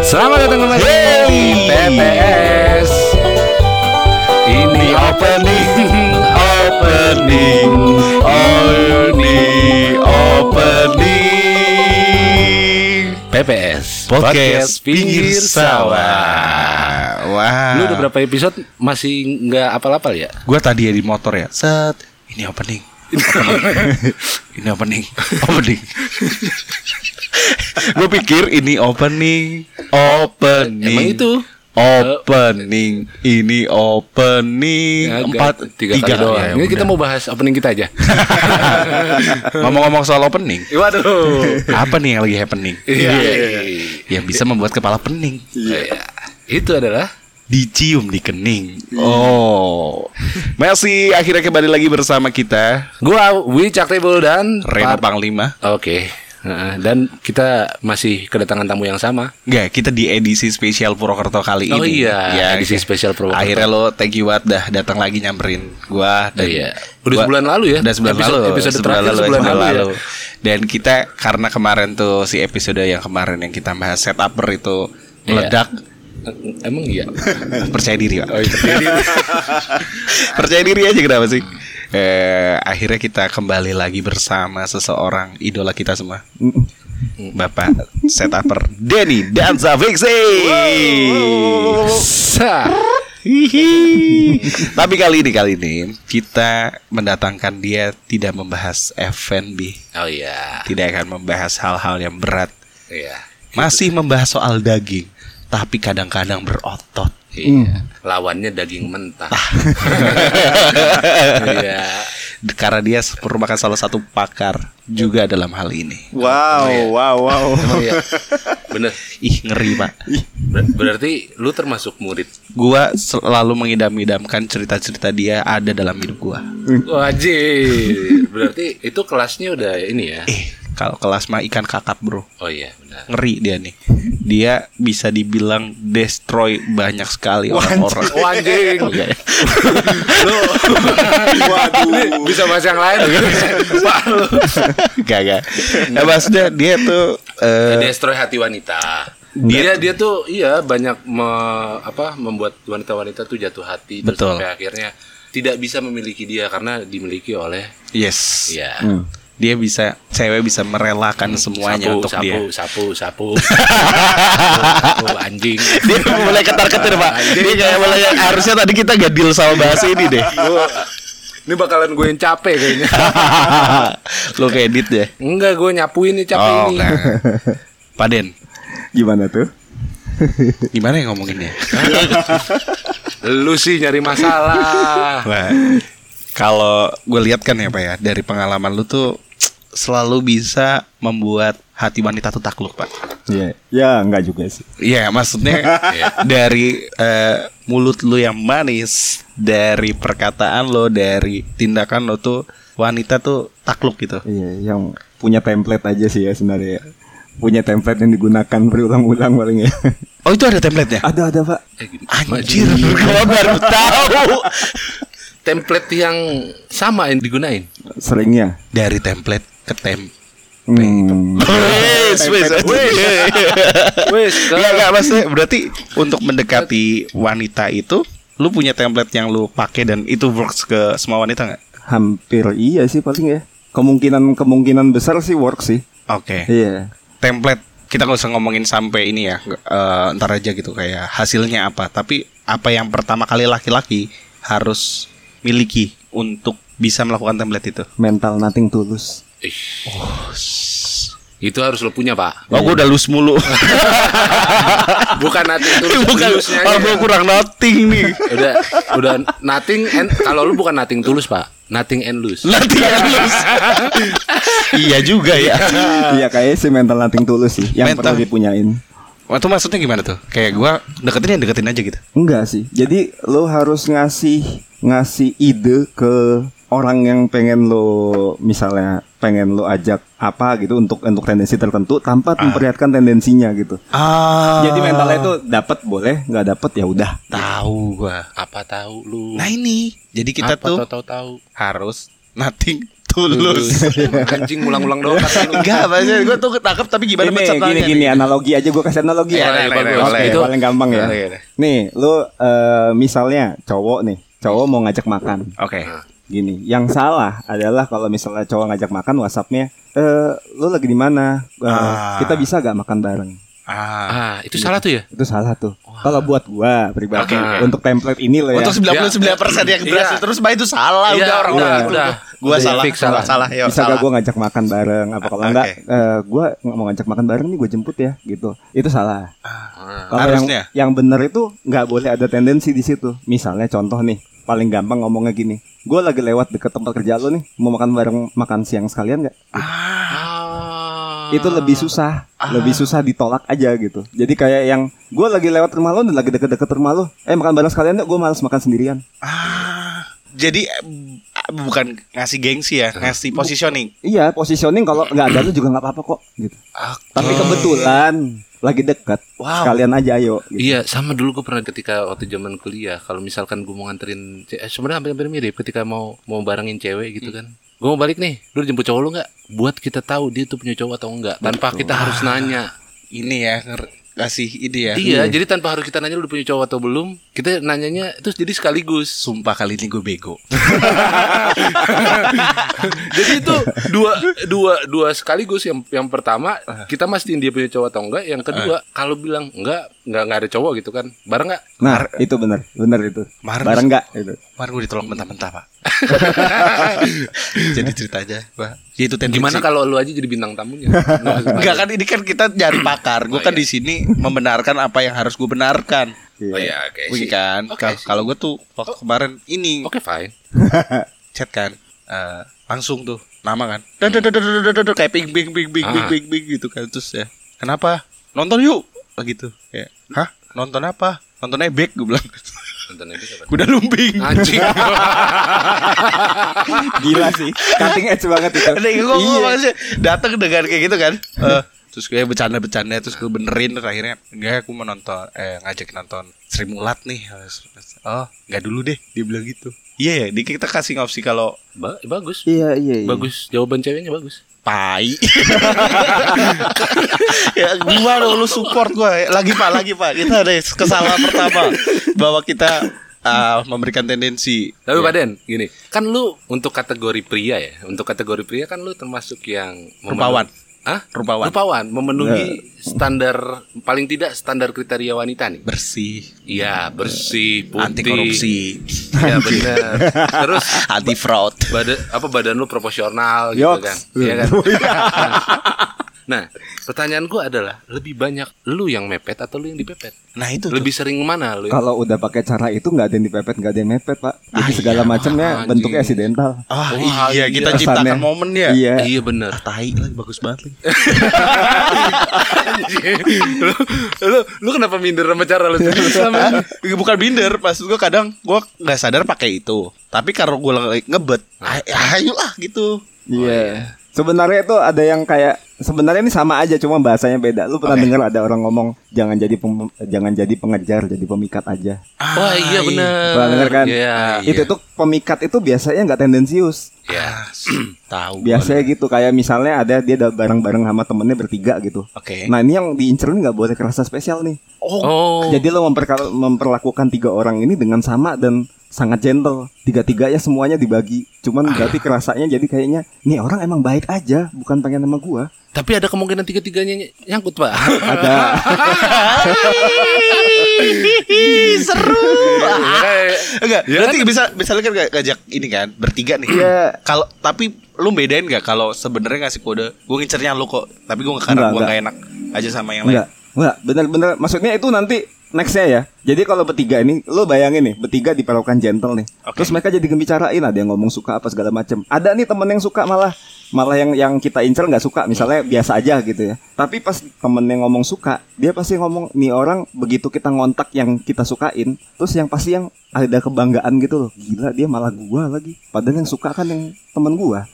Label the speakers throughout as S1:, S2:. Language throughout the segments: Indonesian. S1: Selamat datang kembali di PPS. Ini opening, opening, opening, opening. PPS, podcast pinggir sawah.
S2: Wah.
S1: Lu udah berapa episode masih nggak apal-apal ya?
S2: Gua tadi ya di motor ya. Set. Ini opening. ini opening. Opening. Gue pikir ini opening. Opening.
S1: Emang itu?
S2: Opening. Ini opening.
S1: Nggak,
S2: Empat.
S1: tiga, kali doang.
S2: Ya,
S1: Ini kita
S2: udah.
S1: mau bahas opening kita aja.
S2: Ngomong-ngomong soal opening.
S1: Waduh.
S2: Apa nih yang lagi happening?
S1: Iya.
S2: Yang bisa membuat kepala pening.
S1: Iya. Itu adalah
S2: Dicium di kening.
S1: Iya.
S2: Oh. Masih akhirnya kembali lagi bersama kita.
S1: gua Wicak Tebul dan
S2: Rena
S1: Pak-
S2: Panglima.
S1: Ah, Oke. Heeh, dan kita masih kedatangan tamu yang sama.
S2: Enggak, kita di edisi spesial Purwokerto kali
S1: Oh
S2: ini. Ya,
S1: iya, edisi spesial Purwokerto.
S2: Akhirnya lo thank you banget dah datang lagi nyamperin gua dan
S1: Iya. Udah sebulan lalu ya?
S2: Udah sebulan
S1: Episode-
S2: lalu.
S1: episode terakhir sebulan lalu ya.
S2: Dan kita karena kemarin tuh si episode yang kemarin yang kita bahas setuper itu
S1: Iya.
S2: meledak
S1: Eh, Emang iya.
S2: percaya diri, Pak.
S1: Oh, iya.
S2: percaya diri aja kenapa sih? Eh, akhirnya kita kembali lagi bersama seseorang idola kita semua. Bapak setuper Denny Danza Fiksi.
S1: Sa-
S2: Hihi. Tapi kali ini kali ini kita mendatangkan dia tidak membahas F&B,
S1: Oh iya.
S2: tidak akan membahas hal-hal yang berat,
S1: Iya.
S2: masih membahas soal daging, tapi kadang-kadang berotot.
S1: Iya. Lawannya daging mentah. iya.
S2: Karena dia merupakan salah satu pakar juga dalam hal ini.
S3: Wow, wow, wow.
S1: Emang iya. Bener.
S2: Ih ngeri pak.
S1: Ber- berarti lu termasuk murid.
S2: Gua selalu mengidam-idamkan cerita-cerita dia ada dalam hidup gua.
S1: Wajib. Berarti itu kelasnya udah ini ya.
S2: Eh kalau kelas mah ikan kakap bro.
S1: Oh iya, benar.
S2: ngeri dia nih. Dia bisa dibilang destroy banyak sekali
S1: Oh,
S2: orang-orang.
S1: anjing.
S2: Iya.
S1: Lu
S3: Waduh.
S1: bisa bahas yang lain. Pak, lu.
S2: Gak gak. Nah, maksudnya dia tuh eh,
S1: Destroy hati wanita. Dia dia tuh iya banyak me- apa membuat wanita-wanita tuh jatuh hati terus
S2: Betul.
S1: sampai akhirnya tidak bisa memiliki dia karena dimiliki oleh
S2: yes.
S1: ya
S3: Hmm.
S2: Dia bisa cewek bisa merelakan semuanya
S1: sapu,
S2: untuk
S1: sapu,
S2: dia.
S1: sapu sapu sapu sapu, anjing.
S2: Dia mulai ketar-ketir pak. Dia kayak mulai harusnya tadi kita gak deal sama bahasa ini deh.
S1: Gua- ini bakalan gue yang capek kayaknya.
S2: Lo kayak edit deh.
S1: Enggak, gue nyapuin nih capek
S2: Oh,
S1: ini.
S2: nah. Paden,
S3: Gimana tuh?
S2: gimana yang ngomonginnya?
S1: Lu sih nyari masalah.
S2: Wah, Nah, kalau gue lihat kan ya pak ya dari pengalaman lu tuh selalu bisa membuat hati wanita tuh takluk pak.
S3: Iya. Ya, enggak juga sih.
S2: Iya maksudnya Iya. dari eh, mulut lu yang manis, dari perkataan lo, dari tindakan lo tuh wanita tuh takluk gitu.
S3: Iya, yang punya template aja sih ya sebenarnya. Punya template yang digunakan berulang-ulang paling ya.
S2: Oh itu ada template-nya?
S3: ada, ada, Pak.
S2: Anjir, gua baru tahu.
S1: Template yang sama yang digunain.
S3: Seringnya.
S2: Dari template ke temp.
S3: ya? Hmm.
S2: Wes, wes, wes.
S1: Wes,
S2: Enggak, enggak maksudnya berarti untuk mendekati wanita itu lu punya template yang lu pakai dan itu works ke semua wanita nggak?
S3: Hampir iya sih paling ya. Kemungkinan-kemungkinan besar sih work sih.
S2: Oke.
S3: Iya.
S2: Template kita nggak usah ngomongin sampai ini ya, nggak, eh, ntar aja gitu kayak hasilnya apa. Tapi apa yang pertama kali laki-laki harus miliki untuk bisa melakukan template itu?
S3: Mental nothing tulus.
S1: Ih. Itu harus lo punya pak
S2: Oh, gue udah lus mulu.
S1: Bukan nothing tulus
S2: Bukan,
S1: tulusnya
S2: oh,
S1: aja.
S2: gue kurang nothing nih.
S1: Udah Udah nothing and Kalau lu bukan nothing tulus pak Nothing and loose
S2: Nanti yang lus. iya juga ya.
S3: Iya, kayaknya sih mental nothing tulus sih yang
S2: Mental-
S3: perlu dipunyain.
S2: Waktu maksudnya gimana tuh? Kayak gua deketin ya deketin aja gitu.
S3: Enggak sih. Jadi lo harus ngasih ngasih ide ke orang yang pengen lo misalnya pengen lo ajak apa gitu untuk untuk tendensi tertentu tanpa memperlihatkan tendensinya gitu.
S2: Ah.
S3: Ah. Jadi mentalnya itu dapat boleh, nggak dapat ya udah.
S2: tahu gua.
S1: Apa tahu lu
S2: Nah ini. Jadi iya, kita
S1: Apa
S2: tuh
S1: tahu tahu
S2: harus nothing tulus.
S1: Anjing ulang-ulang doang kata lu.
S2: Enggak, maksudnya gue tuh ketangkep tapi gimana
S3: Ini gini gini analogi aja gue kasih analogi
S2: Iya,
S3: ya.
S2: iya,
S3: Oke,
S2: iya, boleh.
S3: itu paling gampang ya.
S1: Iya, iya.
S3: Nih, lu eh, misalnya cowok nih, cowok mau ngajak makan.
S2: Oke.
S3: Gini, yang salah adalah kalau misalnya cowok ngajak makan WhatsAppnya, eh lu lagi di mana? Eh,
S2: Ah.
S3: Kita bisa gak makan bareng?
S2: Ah.
S1: Ah, itu salah tuh ya?
S3: Itu salah tuh. Kalau buat gua pribadi
S2: Oke, oke.
S3: untuk template ini loh ya.
S2: Untuk 99 persen yang
S1: Iya.
S2: berhasil terus mah itu salah
S1: Iya,
S2: udah orang-orang
S1: udah,
S2: gitu.
S1: udah.
S2: Gua
S1: Udah
S2: salah,
S1: fix,
S2: salah, salah, yo,
S3: bisa
S2: salah.
S3: gak gue ngajak makan bareng apa kalau
S2: Ah,
S3: enggak
S2: oke.
S3: eh, gue nggak mau ngajak makan bareng nih gue jemput ya gitu itu salah kalau yang
S2: Ah. Harusnya.
S3: yang bener itu nggak boleh ada tendensi di situ misalnya contoh nih paling gampang ngomongnya gini gue lagi lewat deket tempat kerja lo nih mau makan bareng makan siang sekalian nggak
S1: Ah.
S3: itu lebih susah lebih susah ditolak aja gitu jadi kayak yang gue lagi lewat rumah lo dan lagi deket-deket rumah lo eh makan bareng sekalian nggak gue malas makan sendirian
S2: Ah. Jadi eh, bu- ah, bukan ngasih gengsi ya, ngasih positioning.
S3: Iya, positioning kalau nggak ada lu juga nggak apa-apa kok gitu.
S2: Ah,
S3: Tapi kebetulan lagi deket,
S2: Wow.
S3: sekalian aja ayo. Gitu.
S1: Iya, sama dulu gue pernah ketika waktu zaman kuliah, kalau misalkan gue mau nganterin, ce- eh, sebenarnya hampir-hampir mirip ketika mau mau barengin cewek gitu kan. Gue mau balik nih, lu jemput cowok lu nggak? Buat kita tahu dia tuh punya cowok atau enggak, tanpa kita harus
S2: Ah.
S1: nanya.
S2: Ini ya, nger- ngasih ide ya.
S1: Iya, jadi tanpa harus kita nanya lu udah punya cowok atau belum, kita nanyanya terus jadi sekaligus.
S2: Sumpah kali ini gue bego.
S1: jadi itu dua dua dua sekaligus yang yang pertama kita mastiin dia punya cowok atau enggak, yang kedua kalau bilang enggak, enggak enggak ada cowok gitu kan. Bareng enggak?
S3: Nah, itu bener, bener itu.
S2: Mar-
S3: Bareng nggak? Gitu.
S2: Kemarin gue ditolak mentah-mentah pak Jadi cerita aja pak Ya itu tendensi
S1: Gimana kan? kalau lu aja jadi bintang tamunya? Enggak
S2: Enggak kan ini kan kita nyari pakar
S1: Oh,
S2: Gue kan
S1: iya.
S2: di sini membenarkan apa yang harus gue benarkan
S3: Iya.
S1: Oh iya, oke.
S2: Iya
S1: sih.
S2: kan
S1: Oke,
S2: Ka-
S1: sih. Oh.
S2: Kalau gue tuh waktu kemarin ini
S1: Oke, fine.
S2: chat kan eh, Langsung tuh nama kan Dad, dad, dad, dad, dad, dad, dad, Kayak ping ping ping ping ping
S1: Hmm. Ah.
S2: ping ping gitu kan Terus ya Kenapa? Nonton yuk Begitu Kayak Hah? Nonton apa? Nonton ebek gue bilang
S1: Nonton aja kapan.
S2: Kuda lumping
S1: Anjing.
S3: Gila sih, cutting edge banget itu.
S2: Ada yang ngomong apa sih? Datang dengan kayak gitu kan. Eh, terus gue bercanda-bercanda terus gue benerin terus akhirnya enggak aku mau nonton eh ngajak nonton Sri Mulat nih. Oh, enggak dulu deh dia bilang gitu. Iya ya, di- kita kasih opsi kalau
S1: Ba- bagus.
S3: Iya iya. iya.
S1: Bagus. Jawaban ceweknya bagus.
S2: pai. ya gua lo lu support gua. Lagi Pak, lagi Pak. Kita ada kesalahan pertama bahwa kita ah, memberikan tendensi
S1: Tapi Pak Den, gini, kan lu untuk kategori pria ya, untuk kategori pria kan lu termasuk yang memenuhi-
S2: Rupawan.
S1: Hah?
S2: Rupawan.
S1: Rupawan, memenuhi standar paling tidak standar kriteria wanita nih.
S2: bersih,
S1: Iya, bersih, putih.
S2: anti korupsi,
S1: Iya, benar. Terus
S2: anti fraud.
S1: badan apa badan lu proporsional gitu
S3: Yoks.
S1: kan. Iya kan? Nah, pertanyaan gua adalah lebih banyak lu yang mepet atau lu yang dipepet?
S2: Nah, itu tuh.
S1: Lebih sering mana lu? yang-
S3: Kalau udah pakai cara itu nggak ada yang dipepet, nggak ada yang mepet pak. Jadi segala macamnya
S1: anjing.
S3: bentuknya accidental.
S2: Ah
S1: Wah,
S2: iya,
S1: iya.
S2: kita
S3: Kesannya.
S2: ciptakan momen ya.
S3: Iya.
S1: Iya bener
S2: Ah, tai lagi bagus banget lagi.
S1: lu, lu, lu kenapa minder sama cara lu Oh, sendiri selama ini?
S2: Hah? Iya, Bukan binder, maksud gua kadang gua nggak sadar pakai itu. Tapi karena gua lagi ngebet, ay- ayo lah gitu.
S3: Iya. Sebenarnya itu ada yang kayak sebenarnya ini sama aja cuma bahasanya beda. Lu pernah
S2: Oke.
S3: dengar ada orang ngomong jangan jadi pem- jangan jadi pengejar, jadi pemikat aja.
S2: Ah,
S1: Wah iya bener
S3: Pernah dengar kan?
S1: Iya
S3: Itu tuh pemikat itu biasanya nggak tendensius.
S1: Iya.
S2: Ya, Tahu. gua.
S3: Biasanya gitu kayak misalnya ada dia ada bareng-bareng sama temennya bertiga gitu.
S2: Oke.
S3: Nah ini yang diincer ini nggak boleh kerasa spesial nih.
S2: Oh,
S1: Oh
S3: Jadi lo memperka- memperlakukan tiga orang ini dengan sama dan sangat gentle. Tiga-tiganya semuanya dibagi. Cuman berarti kerasanya jadi kayaknya nih orang emang baik aja, bukan pengen sama gua.
S1: Tapi ada kemungkinan tiga-tiganya ny- nyangkut pak
S3: Ada.
S2: seru.
S1: Makanya-
S2: Enggak,
S1: Iya
S2: berarti bisa misalnya kan nggak ngajak ini kan bertiga nih.
S3: Iya.
S2: Kalau tapi lu bedain nggak kalau sebenarnya ngasih kode, gua ngincernya lu kok, tapi gua nggak karena
S3: Nggak,
S2: gua
S3: nggak.
S2: nggak enak aja sama yang lain.
S3: Enggak, enggak, bener-bener. Maksudnya itu nanti nextnya ya. Jadi kalau bertiga ini, lo bayangin nih, bertiga diperlakukan gentle nih.
S2: Oke.
S3: Terus mereka jadi gembicarain, ada yang ngomong suka apa segala macem. Ada nih temen yang suka malah, malah yang yang kita incer nggak suka, misalnya biasa aja gitu ya. Tapi pas temen yang ngomong suka, dia pasti ngomong nih orang begitu kita ngontak yang kita sukain, terus yang pasti yang ada kebanggaan gitu loh. Gila dia malah gua lagi. Padahal yang suka kan yang temen gua.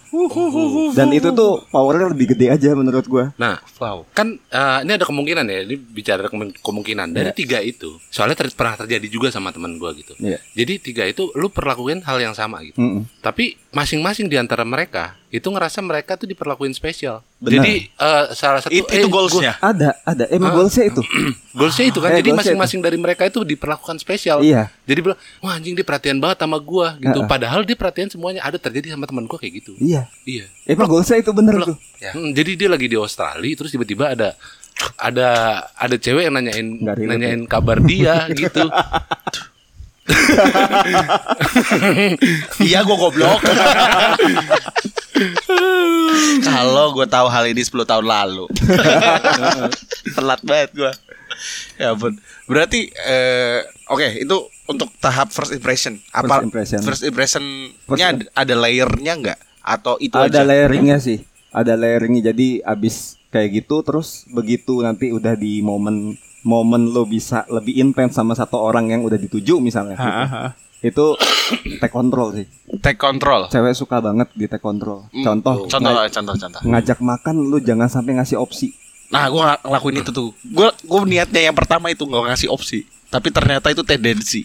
S3: Dan itu tuh powernya lebih gede aja menurut gua.
S1: Nah
S2: Wow.
S1: kan eh, ini ada kemungkinan ya Ini bicara kemen- kemungkinan Dari tiga itu Soalnya ter- pernah terjadi juga sama teman gua gitu
S3: Iya.
S1: Jadi tiga itu lu perlakuin hal yang sama gitu
S3: Mm-mm.
S1: Tapi masing-masing di antara mereka itu ngerasa mereka tuh diperlakuin spesial.
S3: Benar.
S1: Jadi eh, salah satu
S2: It- itu
S1: eh,
S2: goalsnya.
S3: Ada, ada.
S2: Ah.
S3: Eh, Emang goalsnya itu.
S1: Goalsnya itu kan,
S3: Eh,
S1: jadi
S3: goalsnya
S1: masing-masing dari mereka itu diperlakukan spesial.
S3: Iya.
S1: Jadi bilang, wah anjing dia perhatian banget sama gua gitu.
S3: Heeh.
S1: Padahal dia perhatian semuanya. Ada terjadi sama teman gua kayak gitu.
S3: Iya.
S1: Iya.
S3: Emang goalsnya itu bener
S1: Plek.
S3: tuh.
S2: Ya.
S1: Hmm, jadi dia lagi di Australia, terus tiba-tiba ada ada ada cewek yang nanyain
S3: Nggak relate, ya.
S1: nanyain kabar dia gitu.
S2: Iya gue goblok Kalau gue tahu hal ini 10 tahun lalu Telat banget gue Ya ampun Berarti eh, Oke itu untuk tahap first impression Apa
S3: First impression.
S2: First impression-nya
S3: First-
S2: ada- ada layernya nggak? Atau itu
S3: ada
S2: aja?
S3: layeringnya sih ada layeringnya jadi abis kayak gitu terus begitu nanti udah di momen momen lo bisa lebih intens sama satu orang yang udah dituju misalnya gitu. itu take control sih
S2: Take control
S3: cewek suka banget di take control
S2: Hmm.
S3: contoh
S2: Contoh
S3: nga-
S2: contoh contoh
S3: ngajak makan lu jangan sampai ngasih opsi
S2: Nah gue ngelakuin itu tuh Gue gue niatnya yang pertama itu nggak ngasih opsi Tapi ternyata itu tendensi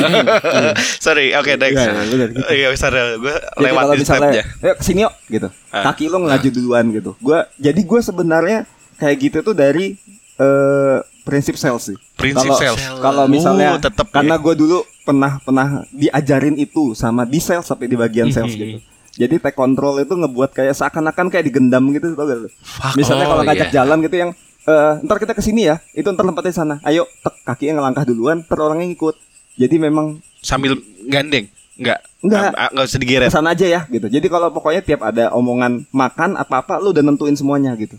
S2: Sorry oke next
S3: Iya, lu dari gitu.
S2: Iya sorry gue
S3: jadi
S2: lewat ya.
S3: kalau misalnya
S2: stepnya
S3: ayo kesini yuk gitu
S2: Ah.
S3: kaki lo ngelaju duluan gitu gua jadi gue sebenarnya kayak gitu tuh dari eh prinsip sales sih
S2: Prinsip
S3: Kalau-
S2: sales.
S3: kalau misalnya
S2: Oh, tetep
S3: karena
S2: ya.
S3: gue dulu pernah pernah diajarin itu sama di sales sampai di bagian sales
S2: Mm-hmm.
S3: gitu jadi take control itu ngebuat kayak seakan-akan kayak digendam gitu tau gak lu? misalnya
S1: oh,
S3: kalau ngajak
S1: iya.
S3: jalan gitu yang eh ntar kita kesini ya itu ntar tempatnya sana ayo tek kakinya ngelangkah duluan ntar orangnya ngikut jadi memang
S2: sambil gandeng nggak
S3: Nggak.
S2: Ah, nggak usah digeret oke
S3: pesan aja ya gitu. Jadi kalau pokoknya tiap ada omongan makan apa-apa lu udah nentuin semuanya gitu.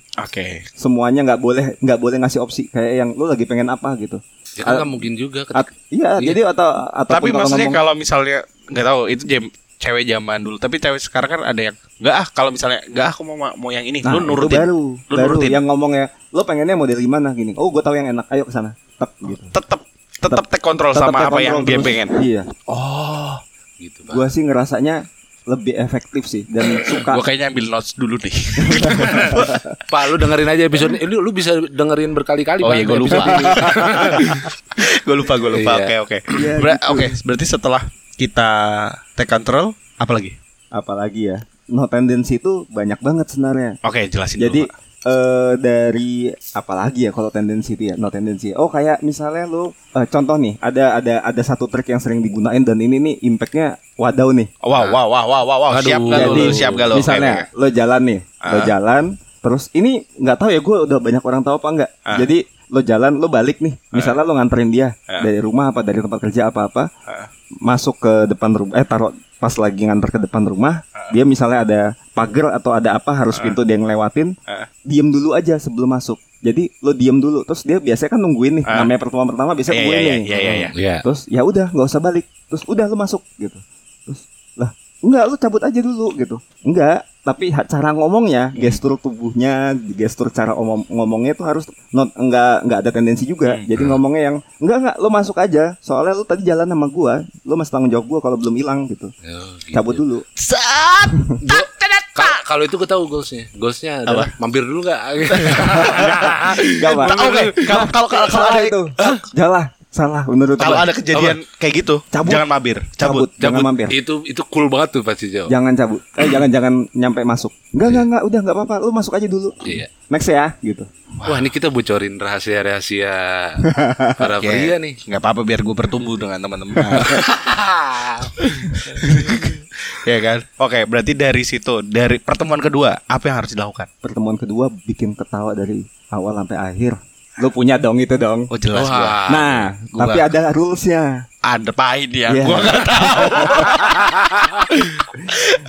S3: Semuanya nggak boleh nggak boleh ngasih opsi kayak yang lu lagi pengen apa gitu.
S1: Ya kan nggak mungkin juga. ketika-
S3: At- iya,
S1: Iya.
S3: jadi atau ataupun
S2: tapi
S3: kalau
S2: maksudnya
S3: ngomong-
S2: kalau misalnya nggak tahu itu jam- cewek zaman dulu tapi cewek sekarang kan ada yang nggak ah kalau misalnya nggak ah, aku mau mau yang ini
S3: Nah,
S2: lu
S3: itu
S2: nurutin
S3: baru,
S2: lu
S3: baru
S2: nurutin
S3: yang ngomongnya lu pengennya model gimana gini. Oh, gue tahu yang enak. Ayo ke sana. Tep, gitu.
S2: tetap tetap take control
S3: Tetep
S2: sama
S3: kayak
S2: apa yang
S3: kontrol
S2: dia
S3: terus.
S2: pengen
S3: Iya.
S2: oh
S1: gitu, Pak.
S3: Gua sih ngerasanya lebih efektif sih dan
S2: gua
S3: suka
S2: kayaknya ambil notes dulu nih
S1: Pak, lu dengerin aja episode ini. Lu, lu bisa dengerin berkali-kali,
S2: Oh
S1: Pak,
S2: iya gue lupa
S1: episode ini.
S2: Gue lupa gue lupa
S1: Iya.
S2: Oke oke
S3: Iya,
S2: Ber-
S3: gitu.
S2: Oke berarti setelah kita take control Apalagi?
S3: apalagi ya. No tendency itu banyak banget sebenarnya.
S2: Oke jelasin
S3: Jadi
S2: dulu Pak.
S3: eh dari apalagi ya kalau tendensi itu ya, no tendensi. Oh kayak misalnya lu eh, contoh nih, ada ada ada satu trik yang sering digunain dan ini nih impactnya wadau nih.
S2: Wow wow wow wow wow, wow. Siap
S1: Aduh.
S2: gak lu?
S3: Jadi,
S2: lu? Siap gak lu? Oke, oke.
S3: Nah. Misalnya lo jalan nih, lo
S2: Ah.
S3: jalan, terus ini nggak tahu ya gue udah banyak orang tahu apa enggak.
S2: Ah.
S3: Jadi lo jalan, lo balik nih. Misalnya lo nganterin dia
S2: Ah.
S3: dari rumah apa dari tempat kerja apa apa,
S2: Ah.
S3: masuk ke depan rumah, eh taruh pas lagi nganter ke depan rumah,
S2: Ah.
S3: dia misalnya ada pagar atau ada apa harus pintu dia ngelewatin,
S2: Ah.
S3: diem dulu aja sebelum masuk. Jadi lo diem dulu, terus dia biasanya kan nungguin nih,
S2: Ah.
S3: namanya pertemuan pertama biasanya
S2: Iya,
S3: nungguin
S2: iya,
S3: nih.
S2: iya, iya, iya.
S1: Iya.
S3: Terus ya udah nggak usah balik. Terus udah lu masuk gitu. Terus lah enggak lu cabut aja dulu gitu. Enggak, tapi ha- cara ngomongnya, gestur tubuhnya, gestur cara omong- ngomongnya itu harus not enggak enggak ada tendensi juga. Jadi ngomongnya yang enggak enggak lu masuk aja. Soalnya lu tadi jalan sama gua, lu masih tanggung jawab gua kalau belum hilang gitu.
S1: Oh, gitu.
S3: Cabut dulu.
S2: Saat
S1: Ka- Kalau itu gue tahu goalsnya. Goalsnya adalah mampir dulu nggak?
S3: Enggak, Pak.
S2: Oke Kalau kalau kalau kalau
S3: Salah
S2: ada
S3: itu. Jalah, salah menurut
S2: kalau
S3: gua.
S2: ada kejadian kayak gitu
S3: Cabut.
S2: Jangan mabir Cabut
S3: Cabut. Iya. Jangan mampir.
S1: Itu itu cool banget tuh pasti jauh.
S3: Jangan cabut. Eh jangan jangan nyampe masuk. Enggak enggak enggak udah enggak apa-apa. Lu masuk aja dulu.
S1: Iya.
S3: Next ya gitu.
S1: Wah ini kita bocorin rahasia-rahasia para
S2: Ya,
S3: iya
S1: pria nih.
S2: nggak apa-apa biar gue bertumbuh dengan teman-teman
S3: Nah.
S2: Ya kan Oke berarti dari situ Dari pertemuan kedua Apa yang harus dilakukan?
S3: pertemuan kedua bikin ketawa dari awal sampai akhir. Lu punya dong itu dong.
S2: Oh jelas gua.
S1: Wah.
S3: nah,
S2: gua-
S3: tapi ada rulesnya.
S2: Ada pain ya
S3: Iya.
S2: Gue nggak tahu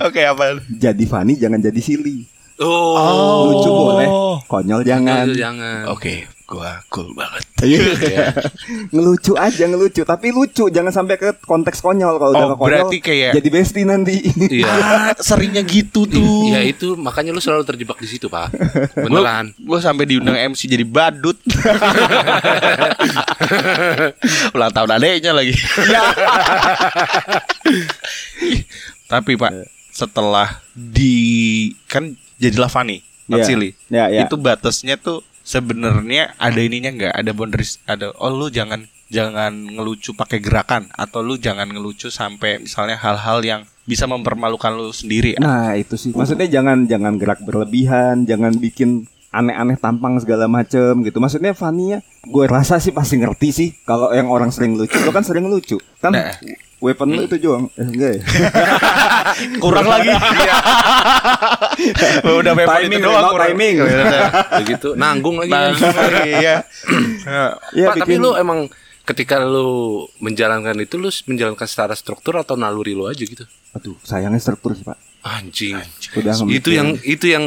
S2: Oke apa
S3: Jadi funny jangan jadi silly.
S1: Oh.
S3: Lucu boleh, konyol jangan.
S1: Jangan.
S3: Iya.
S1: jangan.
S2: Oke gua cool banget iya.
S3: ngelucu aja ngelucu, tapi lucu jangan sampai ke konteks konyol kalau udah
S2: Oh,
S3: ke konyol.
S2: berarti kayak-
S3: jadi bestie nanti.
S1: Iya.
S2: Ah, seringnya gitu tuh.
S1: Iya itu makanya lu selalu terjebak di situ pak. Beneran.
S2: Gue sampai diundang MC jadi badut. Ulang tahun adeknya lagi.
S3: Iya.
S2: Tapi
S3: Iya.
S2: Pak, setelah di kan jadilah Fani, not
S3: Iya.
S2: silly.
S3: Iya, iya.
S2: Itu batasnya tuh sebenarnya ada ininya nggak? Ada boundaries, ada oh lu jangan jangan ngelucu pakai gerakan atau lu jangan ngelucu sampai misalnya hal-hal yang bisa mempermalukan
S1: Ya.
S2: lu sendiri.
S3: Nah itu sih maksudnya jangan jangan gerak berlebihan, jangan bikin aneh-aneh tampang segala macem gitu. Maksudnya Fanny ya, gue rasa sih pasti ngerti sih kalau yang orang sering lucu, lo kan sering lucu kan.
S2: Nah.
S3: Weapon lo itu
S1: Hmm.
S3: juang, eh, enggak ya?
S2: Kurang lagi. Udah memang
S3: Timing,
S2: itu doang
S3: remote
S2: kurang.
S3: timing.
S1: begitu nanggung lagi
S2: Bang, iya. Nah,
S3: Ya,
S1: Pak, tapi
S3: bikin-
S1: lu emang ketika lu menjalankan itu lu menjalankan secara struktur atau naluri lu aja gitu
S3: Aduh, sayangnya struktur sih pak.
S1: anjing,
S3: Udah ya.
S1: itu
S3: ngemikir.
S1: yang itu yang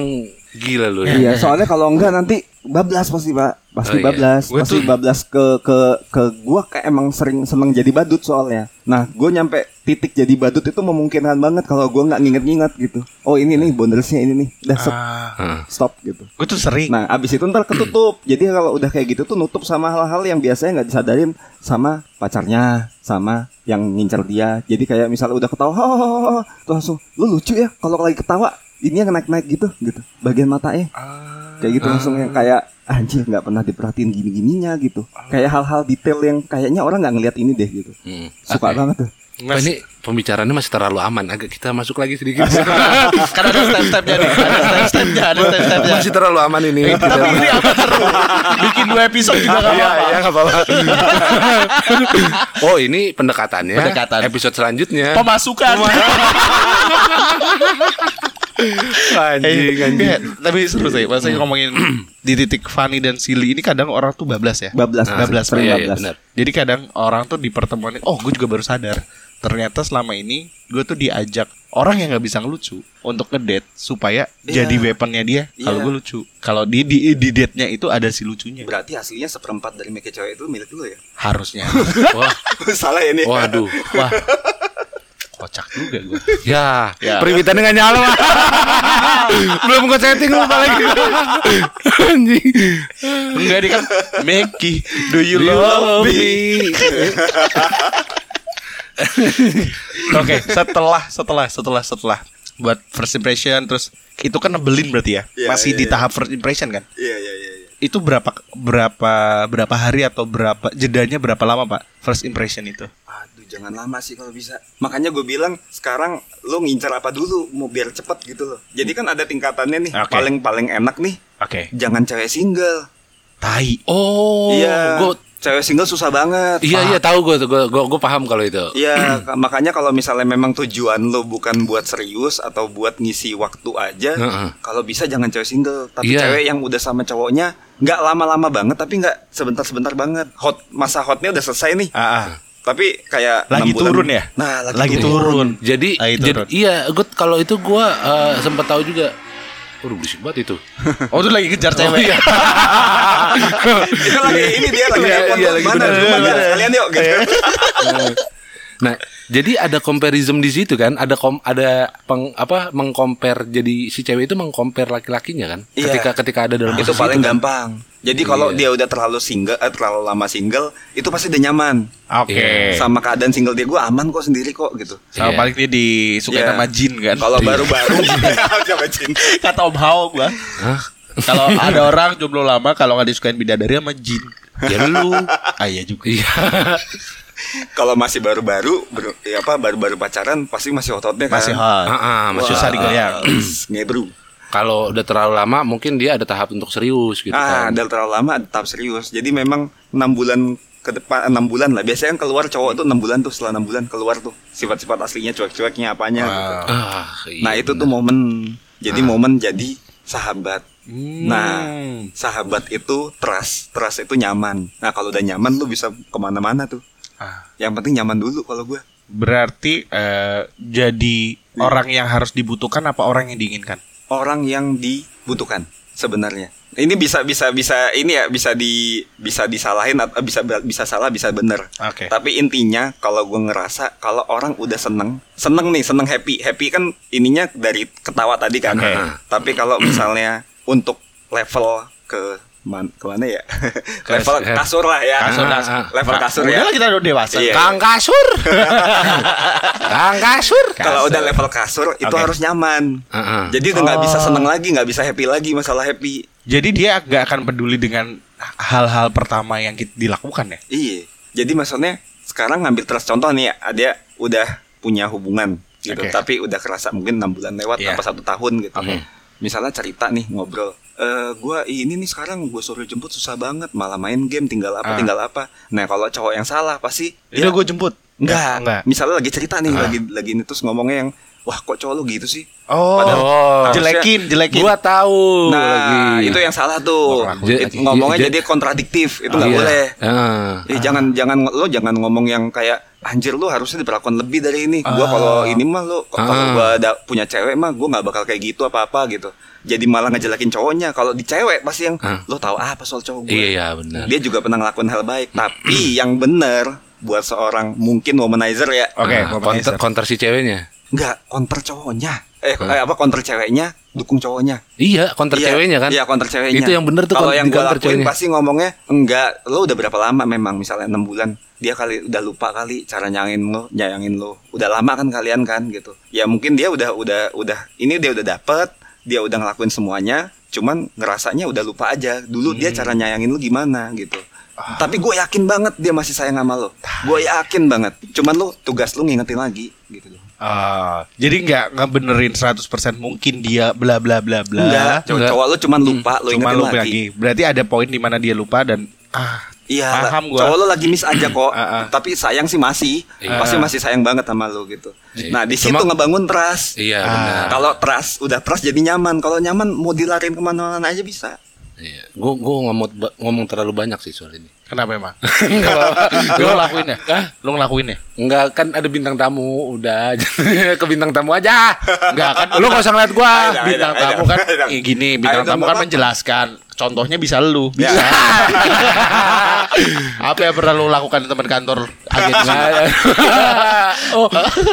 S1: gila lu ya
S3: Iya, soalnya kalau enggak nanti bablas pasti pak, pasti
S1: Oh, iya.
S3: bablas,
S2: Gua
S3: pasti
S2: tuh-
S3: bablas ke ke ke gue kayak emang sering seneng jadi badut soalnya. Nah, gue nyampe titik jadi badut itu memungkinkan banget kalau gue nggak nginget-nginget gitu. Oh ini nih bondersnya ini nih,
S2: Ah.
S3: udah set,
S1: Heeh.
S3: stop gitu.
S2: gue tuh sering.
S3: Nah, abis itu ntar ketutup. Jadi kalau udah kayak gitu tuh nutup sama hal-hal yang biasanya nggak disadarin sama pacarnya, sama yang ngincer dia. Jadi kayak misalnya udah ketawa, "Ho, ho, ho, ho," tuh langsung lu lucu ya kalau lagi ketawa. Ini yang naik-naik gitu, gitu. Bagian matanya kayak gitu langsung yang kayak "Ah, anjir nggak pernah diperhatiin gini-gininya gitu. Kayak hal-hal detail yang kayaknya orang nggak ngeliat ini deh gitu.
S1: Hmm. Oke.
S3: Suka banget tuh.
S1: Pak, ini pembicaraannya masih terlalu aman agak kita masuk lagi sedikit
S2: Karena kan ada step-stepnya nih. Ada step-stepnya, ada step-stepnya.
S1: masih terlalu aman ini
S2: Tapi ini apa seru? Bikin dua episode juga gak
S1: Iya,
S2: apa-apa.
S1: iya, nggak apa-apa. oh, ini pendekatannya.
S2: Pendekatan.
S1: Episode selanjutnya.
S2: Pemasukan.
S1: Anjing, anjing.
S2: Enggak, tapi seru sih. Maksudnya ngomongin di titik Fanny dan Silly ini kadang orang tuh bablas ya.
S3: Bablas,
S2: Nah, bablas,
S3: sering
S1: iya, iya,
S3: bablas.
S1: benar.
S2: Jadi kadang orang tuh di pertemuan ini, oh gue juga baru sadar. Ternyata selama ini gue tuh diajak orang yang nggak bisa ngelucu untuk ngedate supaya
S3: Iya.
S2: jadi weaponnya dia. Kalau
S3: Iya.
S2: gue lucu, kalau di di, di date-nya itu ada si lucunya.
S3: Berarti hasilnya seperempat dari make cewek itu milik lu ya?
S2: Harusnya.
S1: Wah,
S3: Salah ya nih.
S1: waduh. Wah,
S2: Kocak juga gue.
S1: ya.
S2: Ya.
S1: Periwitannya nggak nyala. Wak. Belum gue setting lupa lagi. anjing.
S2: Enggak dia kan Meki, do you love me? Oke, setelah setelah setelah setelah buat first impression terus itu kan nebelin berarti ya.
S3: Iya,
S2: Masih
S3: iya,
S2: di
S3: iya.
S2: tahap first impression kan?
S3: Iya iya iya. iya.
S2: Itu berapa berapa berapa hari atau berapa jedanya berapa lama, Pak? First impression itu.
S3: Aduh jangan lama sih kalau bisa Makanya gue bilang sekarang lo ngincar apa dulu Mau biar cepet gitu loh Jadi kan ada tingkatannya nih
S2: Oke.
S3: Paling-paling enak nih
S2: Oke.
S3: Jangan cewek single
S2: Tai.
S1: Oh,
S3: Iya
S1: gua-
S3: Cewek single susah banget
S1: iya, iya tahu gue, gue, gue, paham kalau itu.
S3: Iya ka- makanya kalau misalnya memang tujuan lo bukan buat serius Atau buat ngisi waktu aja
S1: Heeh.
S3: Kalau bisa jangan cewek single Tapi
S1: Iya.
S3: cewek yang udah sama cowoknya nggak lama-lama banget Tapi nggak sebentar-sebentar banget Hot Masa hotnya udah selesai nih
S2: Ah, ah.
S3: Tapi kayak
S2: Lagi
S3: enam bulan-
S2: turun ya?
S3: Nah lagi,
S2: Lagi turun.
S1: Iya. Jadi,
S3: Ah,
S2: Lagi
S1: jadi
S2: turun.
S1: iya, gue kalau itu gue eh, sempat tahu juga. Waduh, berisik banget itu.
S2: Oh, itu lagi kejar cewek.
S1: iya.
S3: itu lagi ini dia lagi
S1: Iya,
S3: telepon
S1: iya,
S3: tuh,
S1: lagi
S3: mana
S1: bener,
S3: rumah
S1: bener.
S3: dia? kalian yuk gitu.
S1: Nah, jadi ada comparison di situ kan, ada kom ada peng, apa mengcompare jadi si cewek itu mengcompare laki-lakinya kan.
S3: Iya.
S1: Ketika ketika ada dalam
S3: itu
S1: posisi
S3: paling
S1: kan.
S3: gampang jadi kalau
S1: Iya.
S3: dia udah terlalu single eh, terlalu lama single itu pasti udah nyaman
S2: Oke.
S3: sama keadaan single dia gue aman kok sendiri kok gitu
S2: Sama
S1: Iya.
S2: paling dia disukai
S3: Iya.
S2: nama Jin kan.
S3: kalau baru-baru Sama Jin.
S2: kata Om Hao gua.
S1: Hah?
S2: Kalau ada orang jomblo lama kalau nggak disukain bidadari sama jin.
S1: Ya lu.
S2: Ah iya juga.
S1: Iya.
S3: kalau masih baru-baru baru- ya apa baru-baru pacaran pasti masih ototnya kan
S2: Masih hot.
S1: Ah, ah, masih
S2: susah
S1: hot.
S2: digoyang.
S3: ngebru
S1: Kalau udah terlalu lama mungkin dia ada tahap untuk serius gitu
S3: ah
S1: kan.
S3: udah terlalu lama tetap serius jadi memang enam bulan ke depan enam bulan lah biasanya kan keluar cowok tuh enam bulan tuh setelah enam bulan keluar tuh sifat-sifat aslinya cuek-cueknya apanya gitu
S1: Ah, iya,
S3: Nah itu tuh
S1: benar.
S3: momen Jadi momen jadi sahabat
S2: Hmm.
S3: Nah sahabat itu trust Trust itu nyaman Nah kalau udah nyaman lu bisa kemana-mana tuh
S2: Ah.
S3: Yang penting nyaman dulu kalau gue
S2: Berarti eh, jadi orang yang harus dibutuhkan apa orang yang diinginkan?
S3: Orang yang dibutuhkan sebenarnya ini bisa bisa bisa ini ya bisa di bisa disalahin atau bisa bisa salah bisa bener
S2: Oke.
S3: tapi intinya kalau gue ngerasa kalau orang udah seneng seneng nih seneng happy happy kan ininya dari ketawa tadi kan
S2: Oke.
S3: tapi kalau misalnya untuk level ke man, ke mana ya level
S1: Kasur.
S3: kasur lah ya
S1: Kasur, kasur.
S3: level kasur
S2: Ah,
S3: ya
S2: Udah lah kita udah dewasa.
S3: Iya.
S1: Kang kasur. Kang kasur.
S3: kalau udah level kasur itu
S2: Oke.
S3: harus nyaman
S1: Ah, ah.
S3: jadi udah nggak bisa
S2: Oh.
S3: seneng lagi nggak bisa happy lagi masalah happy
S2: Jadi dia nggak akan peduli dengan hal-hal pertama yang kita dilakukan ya.
S3: Iya. Jadi maksudnya sekarang ngambil terus contoh nih ya, dia udah punya hubungan. gitu
S2: Oke.
S3: tapi udah kerasa mungkin enam bulan lewat
S2: Iya.
S3: apa satu tahun gitu
S1: Oke.
S3: misalnya cerita nih ngobrol eh gua ini nih sekarang gue suruh jemput susah banget malah main game tinggal
S2: Ah.
S3: apa tinggal apa nah kalau cowok yang salah pasti
S2: Udah
S3: dia
S2: gue jemput.
S3: enggak,
S2: Enggak.
S3: misalnya lagi cerita nih
S2: Ah.
S3: lagi lagi ini terus ngomongnya yang wah kok cowok lu gitu sih
S2: Oh.
S3: Padahal-
S1: Oh,
S3: Harusnya-
S2: Jelekin, jelekin.
S1: gua tahu
S3: nah
S1: Oh, lagi.
S3: itu yang salah tuh
S2: Ngomong-
S1: Je-
S3: ngomongnya
S1: je-
S3: jadi kontradiktif itu nggak
S1: Iya.
S3: boleh
S1: Ah.
S3: Eh, jangan jangan lo jangan ngomong yang kayak anjir lu harusnya diperlakukan lebih dari ini. Gua
S2: Ah.
S3: kalau ini mah lo kalau
S1: Ah.
S3: gua ada punya cewek mah gua nggak bakal kayak gitu apa-apa gitu. Jadi malah ngejelekin cowoknya. Kalau di cewek pasti yang
S1: Ah.
S3: lo tahu apa soal cowok gue.
S1: Iya, iya, benar.
S3: Dia juga pernah ngelakuin hal baik, tapi yang bener buat seorang mungkin womanizer ya.
S2: Oke,
S1: Ah, konter,
S2: womanizer.
S1: konter si ceweknya.
S3: Enggak, counter cowoknya. Eh,
S1: Ah.
S3: eh, apa counter ceweknya, dukung cowoknya.
S1: Iya, konter
S3: Iya,
S1: ceweknya kan?
S3: Iya, counter ceweknya.
S1: Itu yang bener tuh
S3: Kalau
S1: kon-
S3: yang
S1: di
S3: gue
S1: counter
S3: lakuin
S1: ceweknya.
S3: pasti ngomongnya enggak. Lo udah berapa lama memang misalnya 6 bulan. Dia kali udah lupa kali cara nyangin lo, nyayangin lo. Udah lama kan kalian kan gitu. Ya mungkin dia udah udah udah ini dia udah dapet, dia udah ngelakuin semuanya, cuman ngerasanya udah lupa aja. Dulu
S1: Hmm.
S3: dia cara nyayangin lo gimana gitu.
S1: Ah.
S3: Tapi gue yakin banget dia masih sayang sama lo. Gue yakin banget. Cuman lo tugas lo ngingetin lagi gitu loh.
S2: Ah, jadi nggak nggak benerin 100% mungkin dia bla bla bla bla.
S3: Enggak,
S1: enggak. Hmm.
S3: cowok lo cuman lupa, lo
S2: Cuma
S3: ingetin
S2: lupa
S3: lagi.
S2: lagi. Berarti ada poin di mana dia lupa dan ah
S3: Iya,
S2: Paham gua.
S3: cowok lo lagi miss aja kok,
S2: Ah, ah.
S3: tapi sayang sih masih,
S1: Iya.
S3: pasti masih sayang banget sama lo gitu.
S1: Iya.
S3: Nah di situ
S1: Cuma-
S3: ngebangun trust.
S1: Iya,
S2: Ah.
S1: benar.
S3: Kalau trust, udah trust jadi nyaman. Kalau nyaman mau dilarin kemana-mana aja bisa.
S1: Iya. Gua gua ngomong ngomong terlalu banyak sih soal ini.
S2: kenapa emang? Lu ngelakuin ya? Lu ngelakuin ya?
S1: Enggak kan ada bintang tamu udah ke bintang tamu aja. Enggak kan lu enggak usah ngeliat gua.
S3: Ada, ada,
S2: Bintang
S3: ada.
S2: tamu kan
S3: Ada.
S2: eh, gini, bintang
S3: Ada,
S2: tamu kan
S3: apa-apa.
S2: menjelaskan. Contohnya bisa lu.
S3: Ya.
S2: Bisa. Apa yang pernah lu lakukan di teman kantor agen lu?
S1: Nggak ada. oh,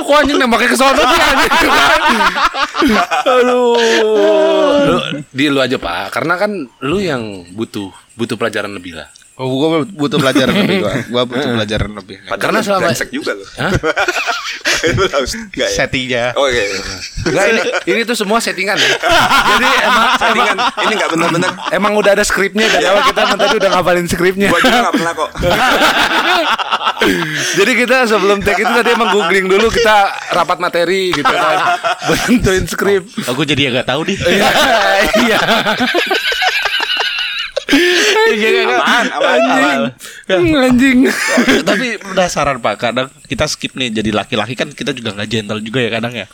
S1: kok anjing nembaknya ke sono sih anjing. Aduh. Lu, di lu aja, Pak. Karena kan lu yang butuh butuh pelajaran lebih lah.
S2: Oh, gua butuh pelajaran lebih gua. Gua butuh pelajaran lebih.
S1: Karena
S3: lu
S1: selama-
S3: brengsek juga lo.
S1: Hah?
S3: Lu harus enggak ya?
S2: Settingnya.
S3: Oke.
S1: Enggak ini ini tuh semua settingan ya. Jadi emang
S3: Settingan ini nggak benar-benar.
S1: emang udah ada skripnya dari awal kita emang tadi udah ngapalin skripnya.
S3: Gua juga nggak pernah kok.
S1: Jadi kita sebelum take itu tadi emang googling dulu kita rapat materi gitu kan. Bentuin skrip.
S2: Aku jadi agak tahu nih.
S1: Iya. Iya.
S3: Aman, aman, aman.
S1: Anjing. Hmm, Anjing.
S2: Tapi penasaran Pak, kadang kita skip nih jadi laki-laki kan kita juga nggak gentle juga ya kadang ya.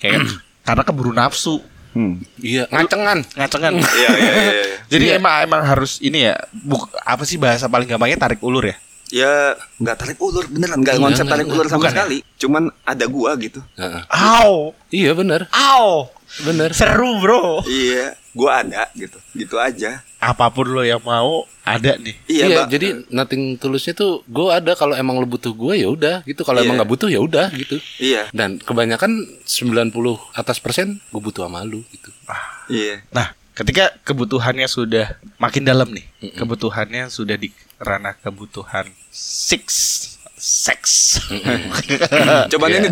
S2: Kayak karena keburu nafsu,
S3: Hmm.
S1: Iya, ngacengan.
S2: ngacengan.
S3: Iya, iya, iya. iya.
S2: Jadi emang emang harus ini ya, buk, apa sih bahasa paling gampangnya tarik ulur ya?
S3: Ya nggak tarik ulur beneran
S1: Iya,
S3: nggak konsep tarik ulur sama
S2: Bukan ya?
S3: sekali. Cuman ada gua gitu.
S2: Au,
S1: Iya benar,
S2: au,
S1: benar.
S2: seru bro.
S3: Iya, gua ada gitu. Gitu aja.
S2: Apapun lo yang mau ada nih.
S1: Iya,
S3: Iya, Mbak.
S1: jadi nothing tulusnya tuh gue ada kalau emang lo butuh gue ya udah gitu. Kalau
S3: Iya.
S1: emang nggak butuh ya udah gitu.
S3: Iya,
S1: Dan kebanyakan 90 atas persen gue butuh sama lu gitu.
S3: iya.
S2: Nah, ketika kebutuhannya sudah makin dalam nih, kebutuhannya sudah di ranah kebutuhan six seks.
S1: Eh,
S3: Coba ini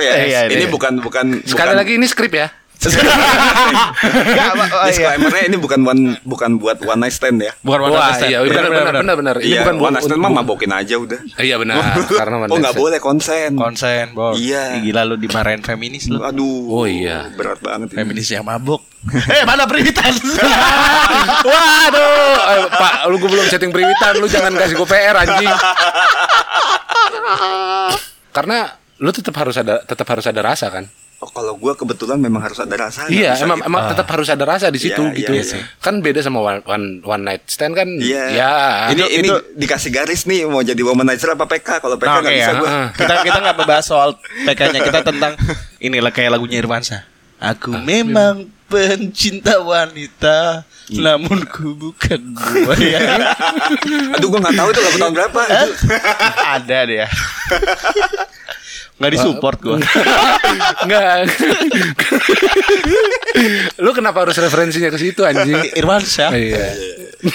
S3: ya.
S2: Iya, iya,
S3: ini
S2: iya.
S3: bukan bukan
S1: Sekali
S3: bukan-
S1: lagi ini skrip ya.
S2: Nggak, Pak. Oh, iya.
S3: disclaimernya ini bukan one bukan buat one night stand ya.
S2: Bukan one
S1: Wah,
S2: night stand.
S1: iya, benar, benar, benar, benar. Ini
S3: Iya,
S1: bukan
S3: one
S1: buat-
S3: night stand mah mabokin aja udah.
S1: Iya benar, karena
S3: oh nggak
S1: mindset.
S3: boleh konsen.
S2: Hmm. Konsen, bro.
S3: Iya.
S2: Ih, Gila lu dimarahin feminis lu.
S3: Aduh.
S1: Oh, iya.
S3: Berat banget ini.
S2: Feminis yang mabuk. eh, mana periwitan?
S1: Waduh, eh, Pak, lu gue belum setting periwitan, lu jangan kasih gue PR anjing. Karena lu tetap harus ada tetap harus ada rasa kan?
S3: Oh, kalau gua kebetulan memang harus ada rasa. nggak
S1: Iya,
S3: bisa
S1: emang
S3: gitu.
S1: emang tetap harus ada rasa di situ
S3: Iya,
S1: gitu.
S3: iya, iya.
S1: Kan beda sama one, one, one night stand kan.
S3: Iya.
S1: Ya.
S3: Ini
S2: Itu-
S3: ini
S2: itu-
S3: dikasih garis nih mau jadi womanizer apa PK? Kalau PK
S2: Nah,
S3: nggak
S2: oke
S3: bisa
S2: ya.
S3: gua.
S2: Heeh. Kita kita nggak membahas soal PK-nya. Kita tentang ini lah kayak lagunya Irwansyah. Aku memang pencinta wanita,
S3: Iya.
S2: namun ku bukan buaya.
S3: Aduh, gua nggak tahu itu lagu tahun berapa.
S1: Eh?
S2: Ada deh ya. Nggak disupport gua.
S1: Enggak. lu kenapa harus Oh, iya. referensinya ke situ anjing?
S2: Irwansyah.
S1: Iya.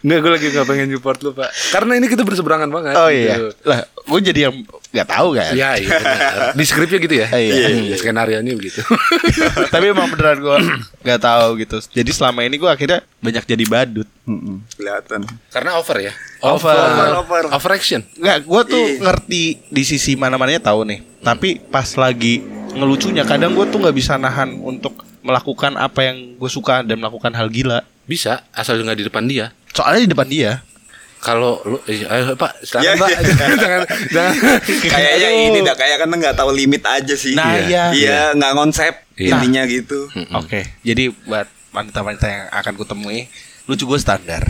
S1: Nggak, gue lagi nggak pengen support lu pak. Karena ini kita berseberangan banget.
S2: Oh
S1: gitu.
S2: iya. Lah, gue jadi yang nggak tahu kan.
S1: Iya iya. benar. Di skripnya gitu ya.
S2: Iya, iya,
S1: Hmm, Skenarionya begitu.
S2: Tapi emang beneran gue nggak tahu gitu. Jadi selama ini gue akhirnya banyak jadi badut.
S4: Mm-mm.
S3: Kelihatan.
S1: Karena over ya.
S2: Over.
S3: Over, over.
S1: Over action.
S2: Nggak, gue tuh
S3: Iya.
S2: ngerti di sisi mana-mananya tahu nih. Tapi pas lagi ngelucunya kadang gue tuh nggak bisa nahan untuk melakukan apa yang gue suka dan melakukan hal gila.
S1: Bisa asal nggak di depan dia.
S2: Soalnya di depan dia.
S1: Kalau lu, eh, ayo, pak,
S3: Iya,
S1: silakan pak,
S3: iya.
S1: jangan, Nah, jangan.
S3: Kayaknya ini dah kayak kan nggak tahu limit aja sih.
S2: Nah, iya. Hmm.
S3: Iya, nggak konsep
S1: Iya.
S3: intinya gitu.
S2: Oke. Jadi buat wanita-wanita yang akan kutemui, lucu gue standar.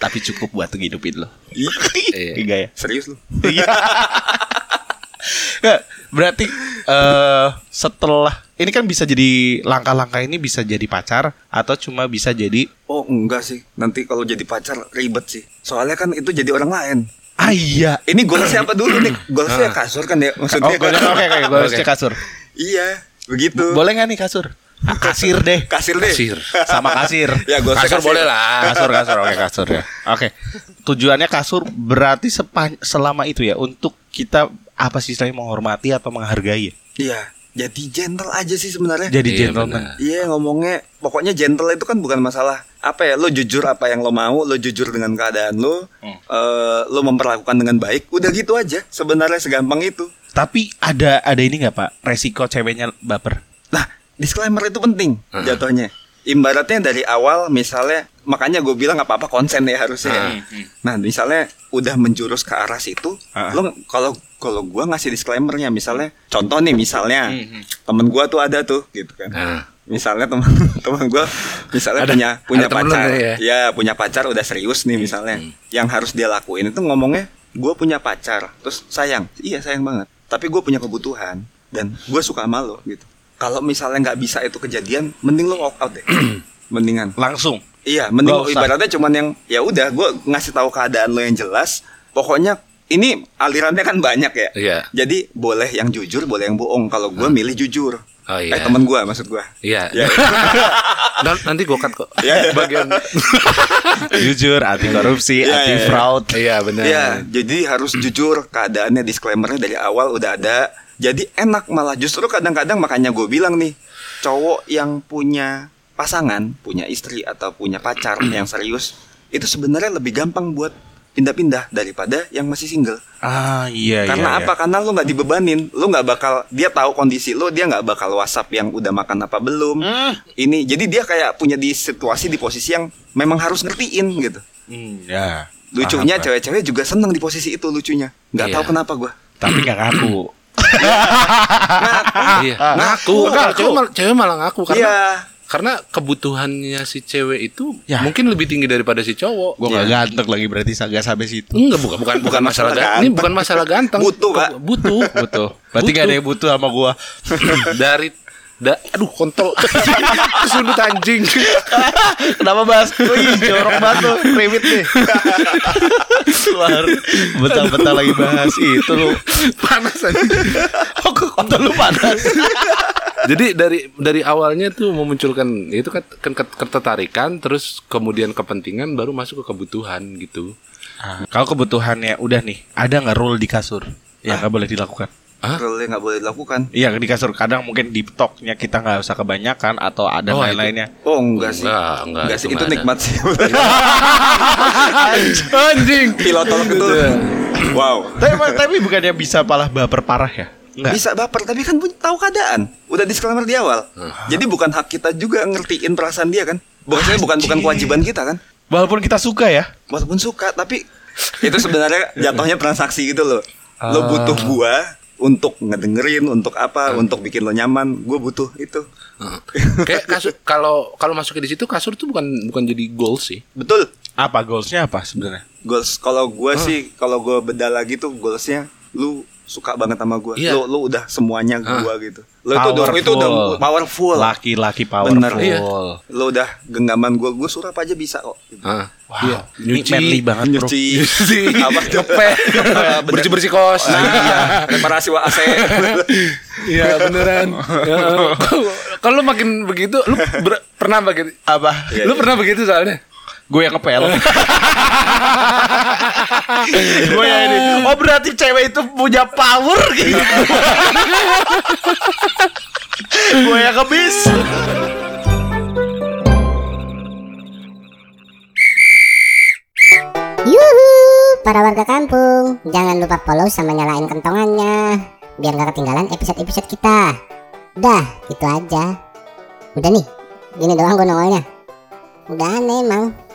S2: Tapi cukup buat ngidupin lo.
S3: Ih,
S1: Iya.
S2: Iya ya.
S3: Serius lu?
S2: Nggak, berarti eh setelah ini kan bisa jadi langkah-langkah ini bisa jadi pacar atau cuma bisa jadi
S3: Oh enggak sih. Nanti kalau jadi pacar ribet sih. Soalnya kan itu jadi orang lain.
S2: ah iya.
S3: Ini goalsnya apa dulu nih? Goalsnya kasur kan ya
S2: Oh,
S3: maksudnya.
S2: gue oke oke gue harus
S1: Oke.
S2: cek kasur.
S3: Iya, begitu.
S2: Boleh nggak nih kasur? Ah, kasir deh.
S3: kasir deh.
S1: Kasir.
S2: Sama kasir.
S3: Ya gue
S1: Kasur boleh lah.
S2: Kasur kasur oke kasur ya. Oke. Tujuannya kasur berarti sepan selama itu ya untuk kita apa sih istilahnya menghormati atau menghargai ya?
S3: Iya, jadi gentle aja sih sebenarnya.
S2: Jadi
S1: Iya,
S2: gentleman.
S1: benar.
S3: Iya ngomongnya pokoknya gentle itu kan bukan masalah apa ya lo jujur apa yang lo mau lo jujur dengan keadaan lo eh, lo memperlakukan dengan baik udah gitu aja sebenarnya segampang itu
S2: Tapi ada ada ini nggak Pak? Resiko ceweknya baper.
S3: nah disclaimer itu penting jatuhnya ibaratnya dari awal misalnya makanya gue bilang apa apa konsen ya harusnya ya. nah misalnya udah menjurus ke arah situ
S2: Ah.
S3: lo kalau kalau gue ngasih disclaimernya misalnya contoh nih misalnya temen gue tuh ada tuh gitu kan
S1: Nah,
S3: misalnya teman teman gue misalnya
S1: Ada-
S3: punya punya
S1: ada temen lu
S3: pacar
S1: nih ya? Hmm,
S3: ya. punya pacar udah serius nih misalnya yang harus dia lakuin itu ngomongnya gue punya pacar terus sayang iya sayang banget tapi gue punya kebutuhan dan gue suka sama lo gitu kalau misalnya nggak bisa itu kejadian mending lo walk out deh mendingan
S2: Langsung.
S3: Iya, mending
S2: Nggak usah.
S3: ibaratnya cuman yang ya udah gue ngasih tahu keadaan lo yang jelas. Pokoknya ini alirannya kan banyak ya.
S1: Iya.
S3: Jadi boleh yang jujur, boleh yang bohong. Kalau gue milih jujur.
S1: Oh, iya.
S3: Eh temen gue maksud gue.
S1: iya.
S3: Iya.
S1: Nan- Nanti gue cut kok.
S3: Iya.
S1: Bagian.
S2: Jujur, anti korupsi,
S3: Iya,
S2: anti
S3: iya, iya.
S2: fraud.
S1: Iya
S2: Nah.
S1: benar.
S3: Iya, jadi harus
S2: Hmm.
S3: jujur keadaannya disclaimernya dari awal udah ada. Jadi enak malah justru kadang-kadang makanya gue bilang nih cowok yang punya pasangan, punya istri atau punya pacar
S2: Hmm.
S3: yang serius itu sebenarnya lebih gampang buat pindah-pindah daripada yang masih single.
S2: Ah iya
S3: Karena
S2: iya,
S3: apa? Karena lu nggak dibebanin, lu nggak bakal dia tahu kondisi lu, dia nggak bakal WhatsApp yang udah makan apa belum.
S2: Hmm.
S3: Ini jadi dia kayak punya di situasi di posisi yang memang harus ngertiin gitu.
S2: Iya. Hmm, ya. Paham,
S3: Lucunya
S2: Pak.
S3: cewek-cewek juga seneng di posisi itu lucunya. Nggak
S1: Iya.
S3: tahu kenapa gua.
S2: tapi nggak ngaku.
S1: Iya. Ngaku. Kalau Cewek mal- cewek malah ngaku Oh, karena
S3: Iya.
S1: karena kebutuhannya si cewek itu
S2: Ya.
S1: mungkin lebih tinggi daripada si cowok. Iya.
S2: Gue nggak
S3: Iya.
S2: ganteng lagi berarti sa- nggak sampai situ.
S1: Enggak bukan bukan bukan masalah
S3: masalah
S1: ganteng. Ini bukan masalah ganteng.
S3: Butuh, Kak.
S1: Butuh.
S2: Betul. Berarti nggak ada yang butuh sama gue.
S1: dari da, aduh kontol sudut anjing
S2: Kenapa bahas? Wih, jorok banget tuh, ribet nih. Luar, betah-betah lagi bahas itu lu.
S1: panas anjing.
S2: Oh, kok kontol lu panas.
S1: Jadi dari dari awalnya tuh memunculkan itu kan, kan ket- ketertarikan terus kemudian kepentingan baru masuk ke kebutuhan gitu.
S2: Ah, Kalau kebutuhannya udah nih, ada nggak rule di kasur yang nggak boleh dilakukan?
S1: Hah?
S3: Role nggak boleh dilakukan.
S2: Iya di kasur kadang mungkin di toknya kita nggak usah kebanyakan atau ada
S1: Oh,
S2: lain-lainnya.
S3: Oh enggak sih.
S1: Enggak, enggak,
S3: Enggak
S1: itu
S3: sih, itu
S1: nggak ada.
S3: nikmat sih.
S1: Anjing.
S3: Pilotol
S1: Gitu
S3: itu.
S1: ya.
S3: Wow.
S2: Tapi, tapi bukannya bisa malah baper parah ya? Nggak.
S3: Bisa baper tapi kan pun tahu keadaan. Udah disclaimer di awal. Jadi bukan hak kita juga ngertiin perasaan dia kan. Bukan bukan bukan kewajiban kita kan.
S2: Walaupun kita suka ya.
S3: walaupun suka tapi itu sebenarnya jatuhnya transaksi gitu loh lo butuh gua untuk ngedengerin untuk apa untuk bikin lo nyaman gua butuh itu
S1: Kayak kasur kalau kalau masuk di situ kasur tuh bukan bukan jadi goal sih.
S3: betul
S2: Apa goalsnya apa sebenarnya?
S1: Ah.
S3: goals kalau gua sih kalau gua beda lagi tuh goalsnya lu suka banget sama gue
S1: Iya.
S3: lo lo udah semuanya
S1: Ah.
S3: gue gitu lo itu udah itu udah
S2: Powerful.
S3: powerful
S2: Laki-laki
S3: Bener,
S1: iya.
S2: powerful.
S3: lo udah genggaman gue gue surap aja bisa kok gitu.
S1: Ah.
S2: Wow, ini manly banget bro.
S3: nyuci Iya. apa ngepel
S1: Iya, bersih bersih kos.
S3: reparasi wa AC
S1: Iya beneran. Ya. Kalau lu makin begitu, lu ber- pernah begitu?
S2: Apa?
S3: Iya,
S1: Lu
S3: iya.
S1: pernah begitu soalnya?
S2: Gue yang ngepel. Gue yang ini. Oh berarti cewek itu punya power gitu. Gue yang kebis.
S5: Yuhu, para warga kampung, jangan lupa follow sama nyalain kentongannya biar nggak ketinggalan episode-episode kita. Dah, gitu aja. Udah nih, gini doang gue nongolnya. Udah aneh emang.